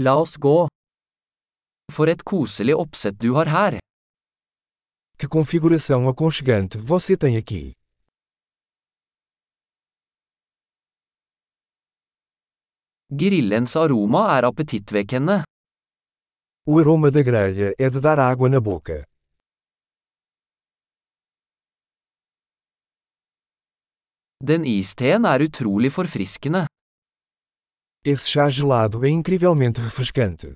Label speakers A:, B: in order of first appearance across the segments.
A: La oss gå. For et koselig oppsett du har her.
B: Que configuração aconchegante você tem aqui.
A: Grillens aroma er appetittvekkende.
B: O aroma da grelha é de dar água na boca.
A: Den isteen er utrolig forfriskende.
B: Esse chá gelado é incrivelmente refrescante.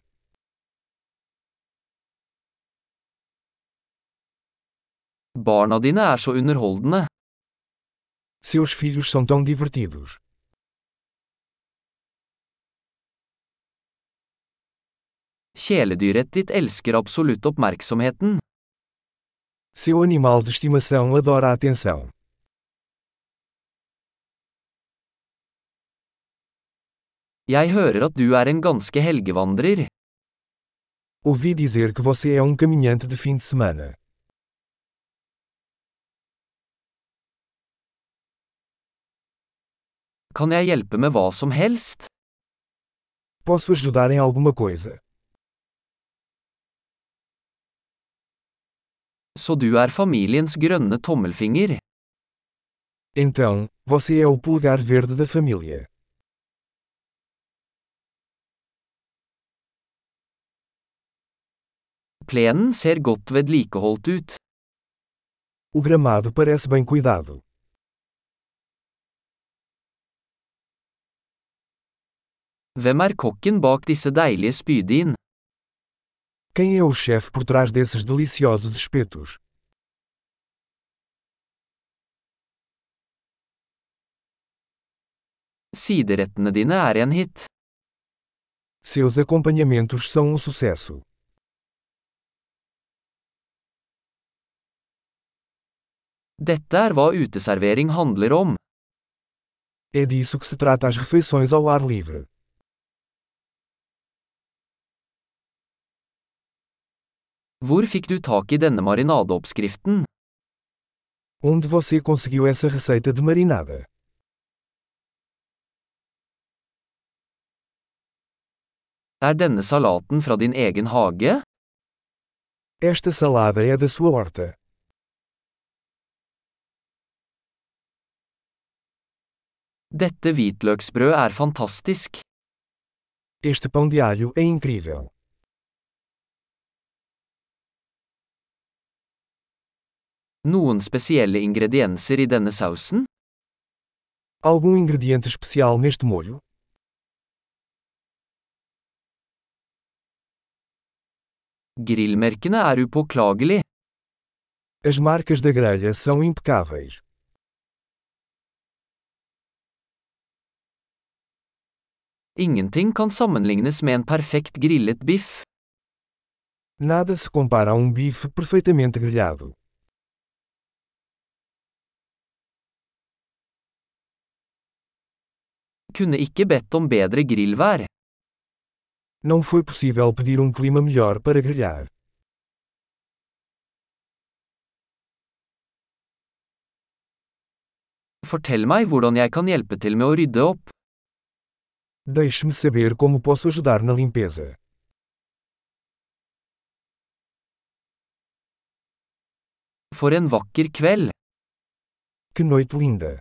A: Barna dine er så underholdende.
B: Seus filhos são tão divertidos.
A: Kjæledyret ditt elsker absolutt oppmerksomheten.
B: Seu animal de estimação adora a atenção.
A: Jeg hører at du er en ganske helgevandrer.
B: Ouvi dizer que você é um caminhante de fim de semana.
A: Kan jeg hjelpe med hva som helst?
B: Posso ajudar em alguma coisa?
A: Så du er familiens grønne tommelfinger.
B: Então, você é o pulgar verde da família.
A: Plenen ser godt vedlikeholdt ut.
B: O gramado parece bem cuidado.
A: Hvem er kokken bak disse deilige spydin?
B: Quem é o chefe por trás desses deliciosos espetos?
A: Siderettene dine er en hit.
B: Seus acompanhamentos são um sucesso.
A: Dette er hva uteservering handler om.
B: É disso que se trata as refeições ao ar livre.
A: Hvor fikk du tak i denne marinadeoppskriften?
B: Onde você conseguiu essa receita de marinada?
A: Er denne salaten fra din egen hage?
B: Esta salada é da sua horta.
A: Dette hvitløksbrød er fantastisk.
B: Este pão de alho é incrível.
A: Noen spesielle ingredienser i denne sausen?
B: Algum ingrediente especial neste molho?
A: Grillmerkene er upåklagelig.
B: As marcas da grelha são impecáveis.
A: Ingenting kan sammenlignes med en perfekt grillet biff.
B: Nada se compara a um bife perfeitamente grelhado.
A: Kunne ikke bedt om bedre grillvær.
B: Não foi possível pedir um clima melhor para grelhar.
A: Fortell meg hvordan jeg kan hjelpe til med å rydde opp.
B: Deixe-me saber como posso ajudar na limpeza.
A: For en vakker kveld!
B: Que noite linda!